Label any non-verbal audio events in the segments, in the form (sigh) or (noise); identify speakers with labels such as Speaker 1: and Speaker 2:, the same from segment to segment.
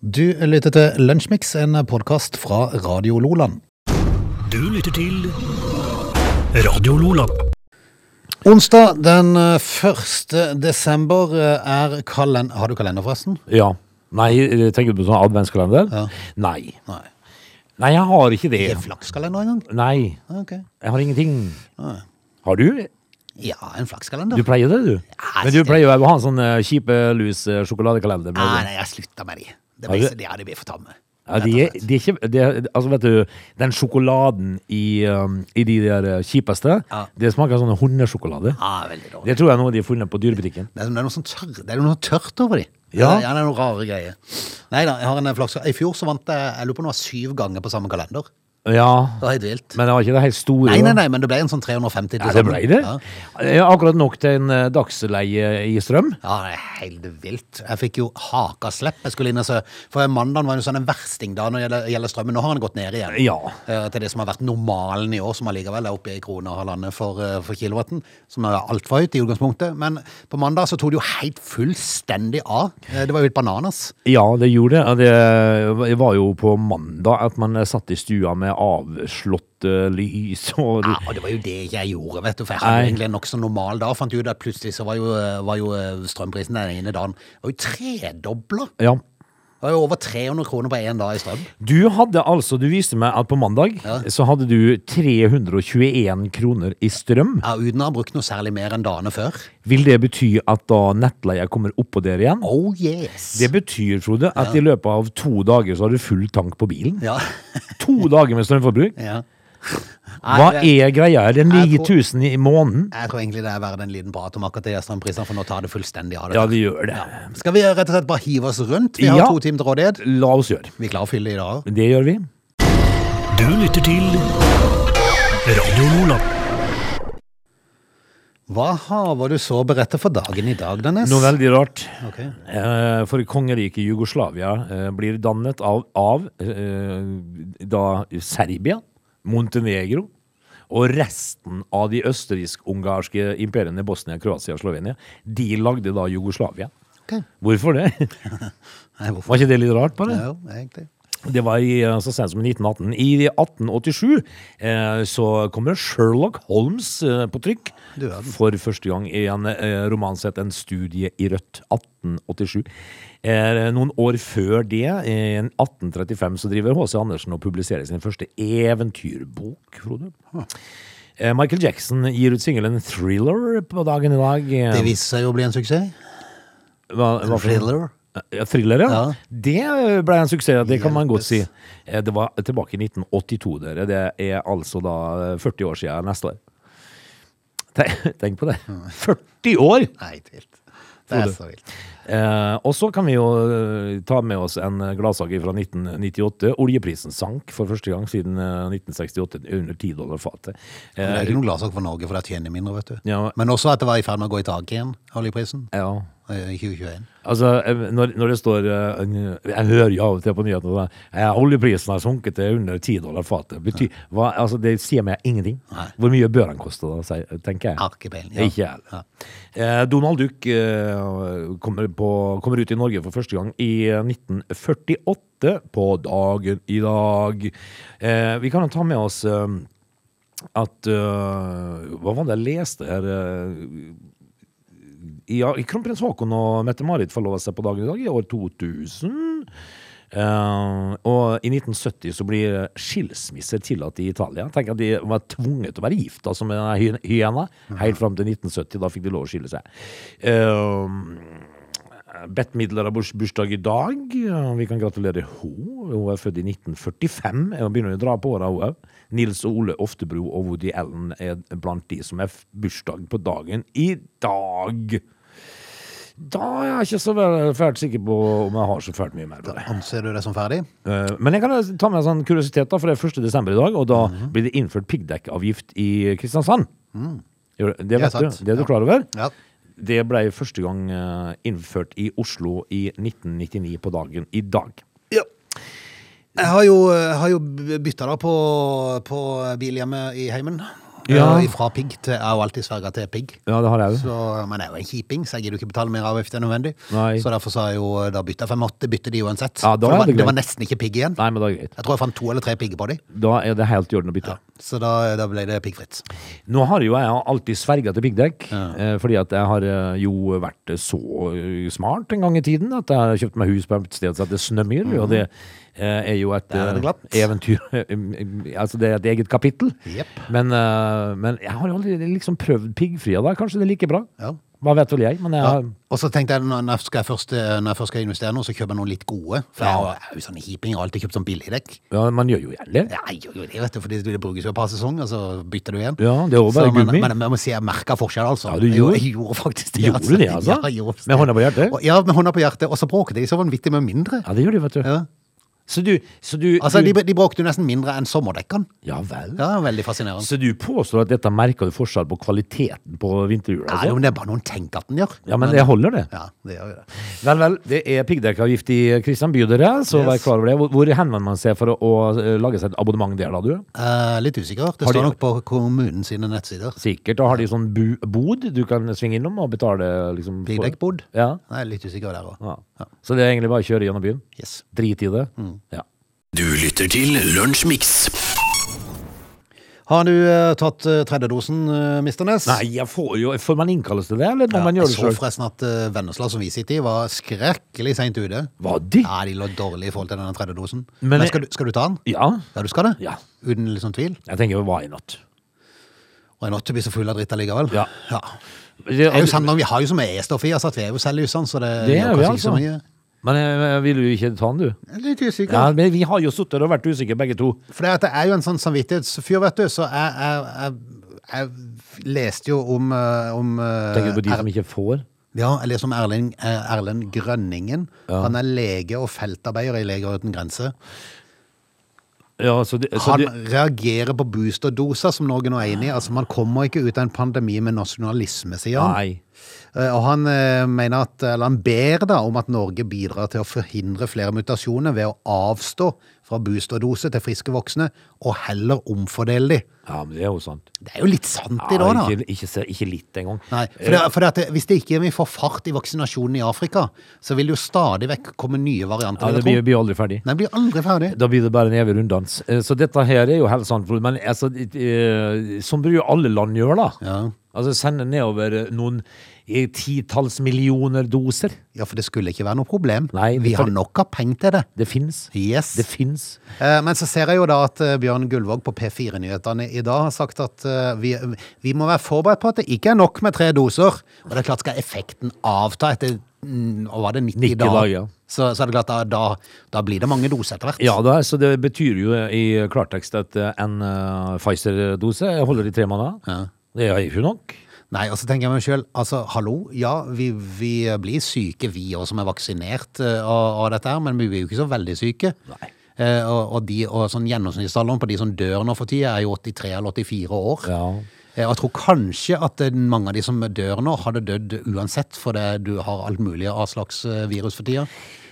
Speaker 1: Du lytter til Lunsjmix, en podkast fra Radio Loland.
Speaker 2: Du lytter til Radio Lola.
Speaker 1: Onsdag den eh, 1. desember eh, er kalender... Har du kalender, forresten?
Speaker 3: Ja. Nei, tenker du på sånn adventskalender?
Speaker 1: Ja.
Speaker 3: Nei.
Speaker 1: Nei.
Speaker 3: Nei, jeg har ikke det.
Speaker 1: Ikke flakskalender engang?
Speaker 3: Nei,
Speaker 1: Ah, Ok.
Speaker 3: jeg har ingenting.
Speaker 1: Nei.
Speaker 3: Har du?
Speaker 1: Ja, en
Speaker 3: Du
Speaker 1: flakskalender.
Speaker 3: pleier det, du.
Speaker 1: Ja,
Speaker 3: Men du
Speaker 1: det-
Speaker 3: pleier jo å ha en sånn eh, kjipe, lus eh, sjokoladekalender.
Speaker 1: Nei,
Speaker 3: Med,
Speaker 1: Ah, nei, jeg slutta med de. Det
Speaker 3: Har
Speaker 1: blir,
Speaker 3: du-
Speaker 1: ja, det blir for tamme.
Speaker 3: ja, de, er- de er ikke de, er- Altså, vet du, den sjokoladen i, um, i de der eh, kjipeste,
Speaker 1: Ja.
Speaker 3: det smaker sånn hundesjokolade.
Speaker 1: Ja, Ah, veldig dårlig.
Speaker 3: Det tror jeg er noe de har funnet på dyrebutikken.
Speaker 1: Det er, som- det er noe sånn tørr, det er noe tørt over de.
Speaker 3: Ja.
Speaker 1: Det er, det er noen rare greier. Nei da, jeg har en flaks. I fjor så vant jeg jeg lurer på om det var syv ganger på samme kalender.
Speaker 3: Ja,
Speaker 1: Det var helt vilt.
Speaker 3: men det var ikke det helt store.
Speaker 1: Nei, nei,
Speaker 3: da.
Speaker 1: nei, men det ble en sånn 350 til
Speaker 3: Ja, det ble
Speaker 1: sammen.
Speaker 3: det.
Speaker 1: Ja.
Speaker 3: Ja, Akkurat nok til en eh, dagsleie i strøm.
Speaker 1: Ja, det er helt vilt. Jeg fikk jo hakaslepp. Jeg skulle inn og se. For mandagen var jo sånn en versting da når det gjelder- gjelder strømmen. Nå har den gått ned igjen.
Speaker 3: Ja.
Speaker 1: Eh, Til det som har vært normalen i år, som allikevel er oppe i krona og halvannen for, eh, for kilowatten. Som er altfor høyt i utgangspunktet. Men på mandag så tok det jo helt fullstendig av. Eh, Det var jo helt bananas.
Speaker 3: Ja, det gjorde det. Det var jo på mandag at man satt i stua med avslått eh, lys og
Speaker 1: Ja, og det var jo det ikke jeg gjorde, vet du. For jeg hadde
Speaker 3: Nei.
Speaker 1: egentlig en nokså normal dag. Fant ut at plutselig så var jo, eh, var jo strømprisen den ene dagen var jo tredobla.
Speaker 3: Ja.
Speaker 1: Det var jo over 300 kroner på én dag i strøm.
Speaker 3: Du hadde altså, du viste meg at på mandag
Speaker 1: Ja.
Speaker 3: så hadde du 321 kroner i strøm.
Speaker 1: Ja, uten å ha brukt noe særlig mer enn dagene før.
Speaker 3: Vil det bety at da nettleia kommer oppå der igjen?
Speaker 1: Oh yes!
Speaker 3: Det betyr, Frode, at i løpet av to dager så har du full tank på bilen.
Speaker 1: Ja. (laughs)
Speaker 3: To dager med strømforbruk.
Speaker 1: ja.
Speaker 3: Hva
Speaker 1: Nei,
Speaker 3: er greia? Er det
Speaker 1: Jeg tror-
Speaker 3: 9000 i måneden?
Speaker 1: Jeg tror egentlig det er verdt en liten prat om akkurat de strømprisene, for nå tar det fullstendig av.
Speaker 3: Ja,
Speaker 1: det.
Speaker 3: det gjør det.
Speaker 1: Skal vi rett og slett bare hive oss rundt? Vi har
Speaker 3: Ja.
Speaker 1: to timer til rådighet.
Speaker 3: La oss gjøre.
Speaker 1: Vi klarer å fylle i dag òg.
Speaker 3: Det gjør vi.
Speaker 2: Du lytter til Radio Lola.
Speaker 1: Hva haver du så å berette for dagen i dag, Dennis?
Speaker 3: Noe veldig rart.
Speaker 1: Ok.
Speaker 3: Eh, For kongeriket Jugoslavia eh, blir dannet av, av eh, da Serbia, Montenegro og resten av de østerriksk-ungarske imperiene Bosnia, Kroatia og Slovenia. De lagde da Jugoslavia.
Speaker 1: Ok.
Speaker 3: Hvorfor det? (laughs)
Speaker 1: Nei, hvorfor?
Speaker 3: Var ikke det litt rart? bare?
Speaker 1: Ja, jo, egentlig.
Speaker 3: Det var i, eh, så sent som i 1918. I 1887 eh, så kommer Sherlock Holmes eh, på trykk.
Speaker 1: Du verden.
Speaker 3: For første gang i en eh, roman sett En studie i rødt. 1887. Eh, noen år før det, eh, i 1835, så driver H.C. Andersen og publiserer sin første eventyrbok, Frode. Eh, Michael Jackson gir ut singelen 'Thriller' på dagen i dag. Eh,
Speaker 1: Det viste seg jo å bli en suksess.
Speaker 3: hva- hva for-
Speaker 1: Thriller.
Speaker 3: ja, thriller, ja.
Speaker 1: Ja.
Speaker 3: Det eh, ble en suksess, det kan man godt si.
Speaker 1: Hjelpes.
Speaker 3: Eh, Det var tilbake i 1982, dere. Det er altså da eh, 40 år siden neste år. Te- Tenk på det. 40 år!
Speaker 1: Nei, ikke vilt. Det er
Speaker 3: Frode.
Speaker 1: så vilt.
Speaker 3: Eh, og så kan vi jo eh, ta med oss en eh, gladsak fra 1998. Oljeprisen sank for første gang siden eh, 1968 under 10 dollar fatet.
Speaker 1: Men Det
Speaker 3: Eh,
Speaker 1: er ikke noen gladsak for Norge, for det tjener mindre, vet du.
Speaker 3: Ja.
Speaker 1: Men også at det var i ferd med å gå i taket igjen, oljeprisen,
Speaker 3: ja.
Speaker 1: eh, i 2021.
Speaker 3: Altså, eh, når, når det står eh, Jeg hører jo av og til på nyhetene at eh, oljeprisen har sunket til under 10 dollar fatet. Bety, hva, altså, det sier meg ingenting.
Speaker 1: Nei.
Speaker 3: Hvor mye bør den koste, da, sier- tenker jeg.
Speaker 1: Arkepeilen.
Speaker 3: Ikke jeg.
Speaker 1: Ja.
Speaker 3: Eh, Donald Duck eh, kommer, på, kommer ut i Norge for første gang i eh, 1948 på dagen i dag. Eh, vi kan jo ta med oss eh, at eh, Hva var det jeg leste her? eh, ja, Kronprins Haakon og Mette-Marit forlova seg på dagen i dag, i år 2000. Eh, og i 1970 så blir skilsmisser tillatt i Italia. Tenk at de var tvunget til å være gift altså med denne hy- hyena helt fram til 1970. Da fikk de lov å skille seg. Uh, Bett Midler har burs- bursdag i dag. Eh, Vi kan gratulere henne. Hun er født i 1945. Hun begynner å dra på åra, hun òg. Nils og Ole Oftebro og Woody Allen er blant de som er f- bursdag på dagen i dag. Da er jeg ikke så vel- eh, fælt sikker på om jeg har så fælt mye mer på det.
Speaker 1: Anser du det som ferdig?
Speaker 3: Eh, Men jeg kan ta med en sånn kuriositet, da, for det er 1. desember i dag, og da
Speaker 1: Mhm.
Speaker 3: blir det innført piggdekkavgift i Kristiansand. Gjør Det, det
Speaker 1: er
Speaker 3: vet du,
Speaker 1: sant.
Speaker 3: det er du
Speaker 1: Mm. Ja.
Speaker 3: klar over?
Speaker 1: Ja.
Speaker 3: Det ble første gang eh, innført i Oslo i 1999 på dagen i dag.
Speaker 1: Jeg har jo, jeg har jo bytta da på, på bil hjemme i heimen.
Speaker 3: Ja.
Speaker 1: Eh, Fra pigg til Jeg har jo alltid sverga til pigg.
Speaker 3: Ja, det har jeg jo.
Speaker 1: Så, men jeg er jo en kjiping, så jeg gidder jo ikke betale mer avgift enn nødvendig.
Speaker 3: Nei.
Speaker 1: Så derfor sa jeg jo eh, Da bytta jeg, for jeg måtte bytte de uansett. For
Speaker 3: Ja, da er
Speaker 1: det, var,
Speaker 3: det greit.
Speaker 1: det var nesten ikke pigg igjen.
Speaker 3: Nei, men da er det greit.
Speaker 1: Jeg tror jeg fant to eller tre pigger på de.
Speaker 3: Da er det helt i orden å bytte.
Speaker 1: Så da, da ble det piggfritt.
Speaker 3: Nå har jo jeg alltid sverga til piggdekk, eh, fordi at jeg har eh, jo vært så eh, smart en gang i tiden at jeg har kjøpt meg hus på et sted som heter Snømyr, og det eh, er jo et
Speaker 1: Der er det
Speaker 3: eh,
Speaker 1: glatt.
Speaker 3: eventyr (laughs) Altså det er et eget kapittel.
Speaker 1: Jepp.
Speaker 3: Men, eh, men jeg har jo aldri liksom prøvd piggfria da. Kanskje det er like bra?
Speaker 1: Ja.
Speaker 3: Hva vet vel jeg, men jeg
Speaker 1: Ja.
Speaker 3: har
Speaker 1: Og så tenkte jeg når jeg skal, først, eh, når jeg først skal investere nå, så kjøper jeg noen litt gode. For jeg har- jeg er jo sånn kjiping, jeg har alltid kjøpt sånn billigdekk.
Speaker 3: Ja, man gjør jo gjerne det.
Speaker 1: Ja, jeg gjør jo det, vet du, fordi det brukes jo et par sesonger, så bytter du igjen.
Speaker 3: Ja, det er jo bare
Speaker 1: Så, men,
Speaker 3: gummi.
Speaker 1: Men jeg må si jeg merka forskjell, altså.
Speaker 3: Ja, du
Speaker 1: Jeg
Speaker 3: gjorde-
Speaker 1: Jeg gjorde faktisk det.
Speaker 3: Gjorde du det,
Speaker 1: (laughs) Ja,
Speaker 3: altså?
Speaker 1: jeg gjorde
Speaker 3: Med hånda på hjertet?
Speaker 1: Og- Ja, med hånda på hjertet. Og så bråket de så vanvittig med mindre.
Speaker 3: Ja, det gjør de, vet du.
Speaker 1: Ja.
Speaker 3: Så du, så du,
Speaker 1: Altså, de,
Speaker 3: du
Speaker 1: de bråkte jo nesten mindre enn sommerdekkene.
Speaker 3: Ja vel.
Speaker 1: Ja, veldig fascinerende.
Speaker 3: Så du påstår at dette merker du forskjell på kvaliteten på vinterhjula?
Speaker 1: Nei,
Speaker 3: Altså?
Speaker 1: men det er bare noen tenker at den gjør.
Speaker 3: Ja, men det holder, det.
Speaker 1: Ja, det gjør jo det.
Speaker 3: Vel, vel. Det er piggdekkavgift i Kristian by, dere, så
Speaker 1: Yes.
Speaker 3: vær klar over det. Hvor- Hvor henvender man seg for å, å eh, lage seg et abonnement der, da, du?
Speaker 1: Eh, litt usikker. Det
Speaker 3: Har de-
Speaker 1: står nok på kommunen sine nettsider.
Speaker 3: Sikkert. Da har de sånn bu bod du kan svinge innom og betale, liksom. for-
Speaker 1: Piggdekkbod.
Speaker 3: Ja.
Speaker 1: Nei, litt usikker der òg.
Speaker 3: ja. Så det er egentlig bare å kjøre gjennom byen.
Speaker 1: Yes.
Speaker 3: Drit i det.
Speaker 1: Mm.
Speaker 3: Ja.
Speaker 2: Du lytter til Lunsjmix.
Speaker 1: Har du eh, tatt eh, tredje dosen, eh, Mr. Ness?
Speaker 3: Nei, jeg får, jo, får man innkalles til det, eller må
Speaker 1: Ja,
Speaker 3: man
Speaker 1: jeg
Speaker 3: gjøre det
Speaker 1: så
Speaker 3: sjøl?
Speaker 1: forresten at eh, Vennesla, som vi sitter i, var skrekkelig seint ute.
Speaker 3: Var de?
Speaker 1: Ja, de lå dårlig i forhold til denne tredje dosen.
Speaker 3: Men
Speaker 1: Men,
Speaker 3: jeg-
Speaker 1: skal, du, skal du ta den?
Speaker 3: Ja.
Speaker 1: Ja, du skal det?
Speaker 3: Ja.
Speaker 1: Uten liksom tvil?
Speaker 3: Jeg tenker hva i natt?
Speaker 1: Og en åtte blir så full av dritt allikevel?
Speaker 3: Ja.
Speaker 1: Det er jo sant, men vi har jo så mye E-stoff i oss at vi er jo selv usant, så det,
Speaker 3: Det
Speaker 1: gjør
Speaker 3: er vi,
Speaker 1: kanskje
Speaker 3: altså.
Speaker 1: ikke
Speaker 3: Men eh, vil du ikke ta den, du?
Speaker 1: så mye. Litt usikker.
Speaker 3: Ja, men vi har jo sittet og vært usikre begge to.
Speaker 1: For det at jeg er jo en sånn samvittighetsfyr, vet du, så jeg, jeg, jeg, jeg leste jo om, eh, om eh,
Speaker 3: Tenker du på de
Speaker 1: Er-
Speaker 3: som ikke får?
Speaker 1: Ja, jeg leser om Erling, eh, Erlend Grønningen. Han er lege og feltarbeider i Leger uten grenser.
Speaker 3: Ja, så det, så
Speaker 1: Han
Speaker 3: det,
Speaker 1: reagerer på boosterdoser, som Norge nå er inne i. Altså, man kommer ikke ut av en pandemi med nasjonalisme, sier han.
Speaker 3: Nei.
Speaker 1: Eh, Og han eh, mener at, eller han ber da om at Norge bidrar til å forhindre flere mutasjoner ved å avstå fra boosterdose til friske voksne, og heller omfordele de.
Speaker 3: Ja, men det er jo sant.
Speaker 1: Det er jo litt sant i
Speaker 3: Ja,
Speaker 1: dag, da.
Speaker 3: ikke, ikke, se- ikke litt engang.
Speaker 1: Nei, for, det, for det at det, Hvis det ikke vi får fart i vaksinasjonen i Afrika, så vil det jo stadig vekk komme nye varianter.
Speaker 3: Eh, Ja,
Speaker 1: vil jeg
Speaker 3: det blir,
Speaker 1: tro.
Speaker 3: blir aldri ferdig.
Speaker 1: Den blir aldri ferdig.
Speaker 3: Da blir det bare en evig runddans. Eh, Så dette her er jo helt sant, Frode, men altså, eh, sånn burde jo alle land gjøre, da.
Speaker 1: Ja.
Speaker 3: Altså sende nedover eh, noen eh, titalls millioner doser.
Speaker 1: Ja, for det skulle ikke være noe problem.
Speaker 3: Nei, det-
Speaker 1: vi har nok av penger til det.
Speaker 3: Det fins.
Speaker 1: Yes.
Speaker 3: Det fins.
Speaker 1: Eh, Men så ser jeg jo da at eh, Bjørn Gullvåg på P4-nyhetene i dag har sagt at eh, vi, vi må være forberedt på at det ikke er nok med tre doser. Og det er klart skal effekten avta etter mm, hva var det, 90,
Speaker 3: 90
Speaker 1: dager,
Speaker 3: dager, ja.
Speaker 1: så, så er det klart da, da, da blir det mange doser etter hvert.
Speaker 3: Ja, da, så det betyr jo i klartekst at eh, en eh, Pfizer-dose holder i tre måneder.
Speaker 1: Ja.
Speaker 3: Det er jo ikke nok.
Speaker 1: Nei, og så tenker jeg meg sjøl, altså hallo, ja vi, vi blir syke vi òg som er vaksinert eh, av, av dette her, men vi blir jo ikke så veldig syke.
Speaker 3: Nei.
Speaker 1: Eh, og, og, de, og sånn gjennomsnittsalderen på de som dør nå for tida, er jo 83 eller 84 år.
Speaker 3: Ja.
Speaker 1: Eh, Og jeg tror kanskje at eh, mange av de som dør nå, hadde dødd uansett, fordi du har alt mulig av slags eh, virus for tida.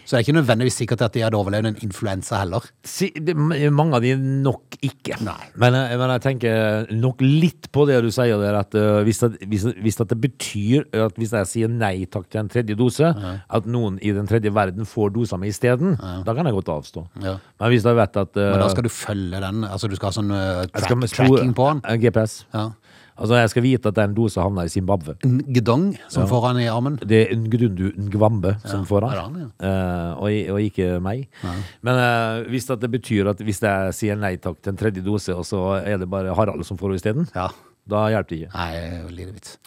Speaker 1: Så det er ikke nødvendigvis sikkert at de hadde overlevd en influensa heller.
Speaker 3: Si, det, mange av de nok ikke. Men, jeg- men jeg tenker nok litt på det du sier der, at øh, hvis, det, hvis, det- hvis at det betyr at hvis jeg sier nei takk til en tredje dose, at noen i den tredje verden får dosa mi isteden, da kan jeg godt avstå.
Speaker 1: Ja.
Speaker 3: Men hvis jeg vet at øh,
Speaker 1: Men da skal du følge den, altså du skal ha sånn eh,
Speaker 3: jeg
Speaker 1: track,
Speaker 3: med spor-
Speaker 1: tracking på den.
Speaker 3: eh, GPS.
Speaker 1: Ja.
Speaker 3: Altså, jeg skal vite at den dosa havner i Zimbabwe.
Speaker 1: Gdong som får han i armen.
Speaker 3: Det er Ngudundu Ngvambe som får
Speaker 1: det er
Speaker 3: han,
Speaker 1: han,
Speaker 3: eh, og, og ikke meg. Men eh, hvis at det betyr at hvis jeg sier nei takk til en tredje dose, og så er det bare Harald som får henne isteden,
Speaker 1: Ja.
Speaker 3: da hjelper det ikke.
Speaker 1: Nei, det er jo lite vits.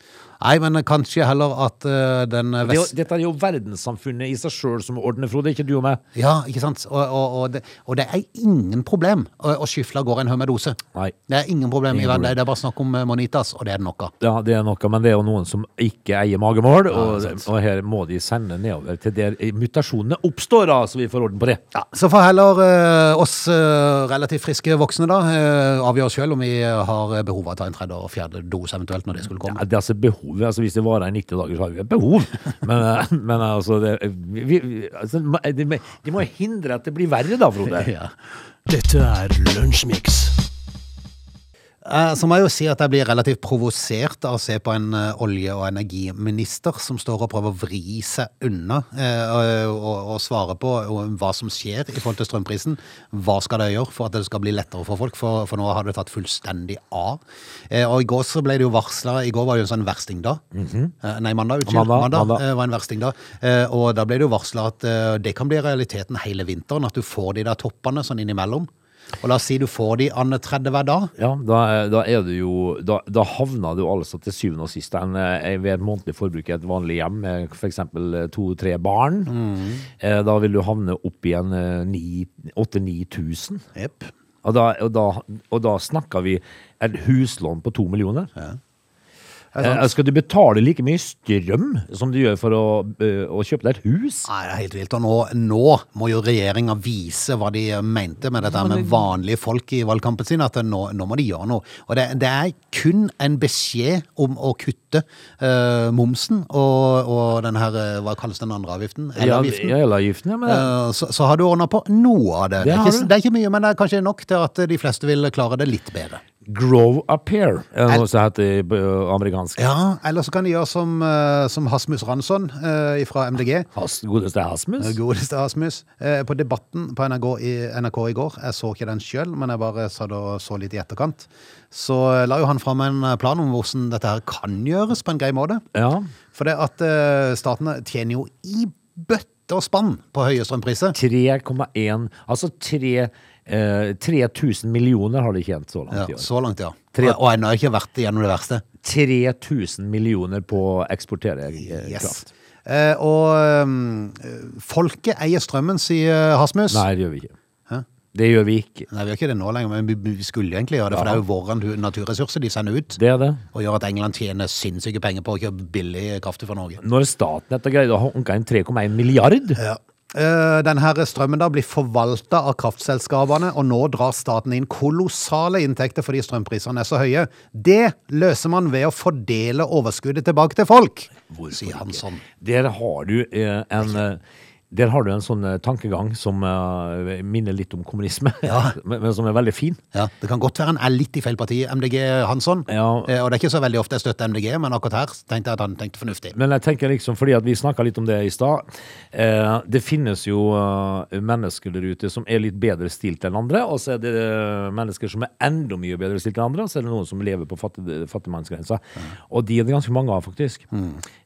Speaker 1: Nei, men kanskje heller at eh, den
Speaker 3: Det er jo,
Speaker 1: vest...
Speaker 3: dette er jo verdenssamfunnet i seg sjøl som ordner, Frode, ikke du og meg.
Speaker 1: Ja, ikke sant? Og, og, og, det, og det er ingen problem å, å skyfle av gårde en haug med doser.
Speaker 3: Nei.
Speaker 1: Det er ingen problem
Speaker 3: Ingen
Speaker 1: i verden.
Speaker 3: problem.
Speaker 1: Det er bare snakk om eh, Monitas, og det er det nok av.
Speaker 3: Ja, det er noe, men det er jo noen som ikke eier magemål, og, og her må de sende nedover til der mutasjonene oppstår, da, så vi får orden på det.
Speaker 1: Ja, Så får heller eh, oss eh, relativt friske voksne da eh, avgjøre sjøl om vi eh, har behov av å ta en tredje og fjerde dose eventuelt når det skulle
Speaker 3: Ja,
Speaker 1: komme.
Speaker 3: det er altså behovet, altså Hvis det varer i 90 dager, så har vi et behov. Men, eh, men altså, det, vi, vi- altså ma- de, må- de må
Speaker 1: (laughs)
Speaker 3: hindre at det blir verre, da, Frode.
Speaker 1: Ja.
Speaker 2: Dette er Lunsjmix.
Speaker 1: Eh, Så må jeg jo si at jeg blir relativt provosert av å se på en eh, olje- og energiminister som står og prøver å vri seg unna eh, og, og, og svare på eh, hva som skjer i forhold til strømprisen. Hva skal det gjøre for at det skal bli lettere for folk, for, for nå har det tatt fullstendig av. Eh, Og i går så ble det jo varsla I går var jo en sånn versting da. Eh, Nei, mandag. Unnskyld.
Speaker 3: Mhm. Mandag,
Speaker 1: Mandag,
Speaker 3: mandag.
Speaker 1: eh, var en versting da. Eh, Og da ble det jo varsla at eh, det kan bli realiteten hele vinteren, at du får de der toppene sånn innimellom. Og la oss si du får de annet 30 hver dag.
Speaker 3: Ja, da, er- da er du jo Da, da havner du altså til syvende og sist en, eh, ved et månedlig forbruk i et vanlig hjem, eh, for eksempel to-tre barn. Eh, Da vil du havne opp eh, igjen 8000-9000.
Speaker 1: Jepp.
Speaker 3: Og da, og, da, og da snakker vi et huslån på to millioner. Eh, skal du betale like mye strøm som du gjør for å, eh, å kjøpe deg et hus?
Speaker 1: Nei, det er helt vilt. Og nå, nå må jo regjeringa vise hva de mente med dette her med vanlige folk i valgkampen sin, at nå, nå må de gjøre noe. Og det, det er kun en beskjed om å kutte eh, momsen og, og den her, eh, hva kalles den andre avgiften? Elavgiften.
Speaker 3: Ja, elavgiften, ja, men det-
Speaker 1: Eh, Så, så har du ordna på noe av det.
Speaker 3: Det
Speaker 1: Det er,
Speaker 3: har
Speaker 1: ikke,
Speaker 3: du.
Speaker 1: det er ikke mye, men det er kanskje nok til at de fleste vil klare det litt bedre.
Speaker 3: Grow a pair, er det noe som heter på eh, amerikansk.
Speaker 1: Ja, Eller så kan de gjøre som, eh, som Hasmus Ransson fra MDG.
Speaker 3: Has, godeste Asmus?
Speaker 1: Godeste Asmus. Eh, På Debatten på NRK i, NRK i går, jeg så ikke den sjøl, men jeg bare satt og så litt i etterkant, så la jo han fram en plan om hvordan dette her kan gjøres på en grei måte.
Speaker 3: Ja.
Speaker 1: For det at eh, staten tjener jo i bøtte og spann på høye strømpriser.
Speaker 3: 3,1 Altså tre, eh, 3000 millioner har de tjent så
Speaker 1: Ja,
Speaker 3: langt i år.
Speaker 1: så langt, ja.
Speaker 3: Tre-
Speaker 1: Og ennå har jeg ikke vært igjennom det verste.
Speaker 3: 3000 millioner på å eksportere eh,
Speaker 1: Yes.
Speaker 3: kraft.
Speaker 1: Eh, og um, folket eier strømmen, sier Hasmus.
Speaker 3: Nei, det gjør vi ikke.
Speaker 1: Hæ?
Speaker 3: Det gjør vi ikke.
Speaker 1: Nei, vi gjør ikke det nå lenger, men vi- vi skulle egentlig gjøre det, for det
Speaker 3: Ja.
Speaker 1: er jo våre natu- naturressurser de sender ut.
Speaker 3: Det er det.
Speaker 1: og gjør at England tjener sinnssyke penger på å kjøpe billig kraft fra Norge.
Speaker 3: Når Statnett har greid å hanke inn 3,1 milliard
Speaker 1: Ja. Eh, Den her strømmen da blir forvalta av kraftselskapene, og nå drar staten inn kolossale inntekter fordi strømprisene er så høye. Det løser man ved å fordele overskuddet tilbake til folk, sier Hansson.
Speaker 3: Der har du eh, en eh, der har du en sånn eh, tankegang som eh, minner litt om kommunisme,
Speaker 1: Ja.
Speaker 3: (laughs) men men som er veldig fin.
Speaker 1: Ja, det kan godt være han er litt i feil parti, MDG Hansson.
Speaker 3: Ja.
Speaker 1: Eh, Og det er ikke så veldig ofte jeg støtter MDG, men akkurat her tenkte jeg at han tenkte fornuftig.
Speaker 3: Men jeg tenker liksom, fordi at vi snakka litt om det i stad. Eh, det finnes jo eh, mennesker der ute som er litt bedre stilt enn andre, og så er det eh, mennesker som er enda mye bedre stilt enn andre, og så er det noen som lever på fattig, fattigmannsgrensa. Og de er det ganske mange av, faktisk.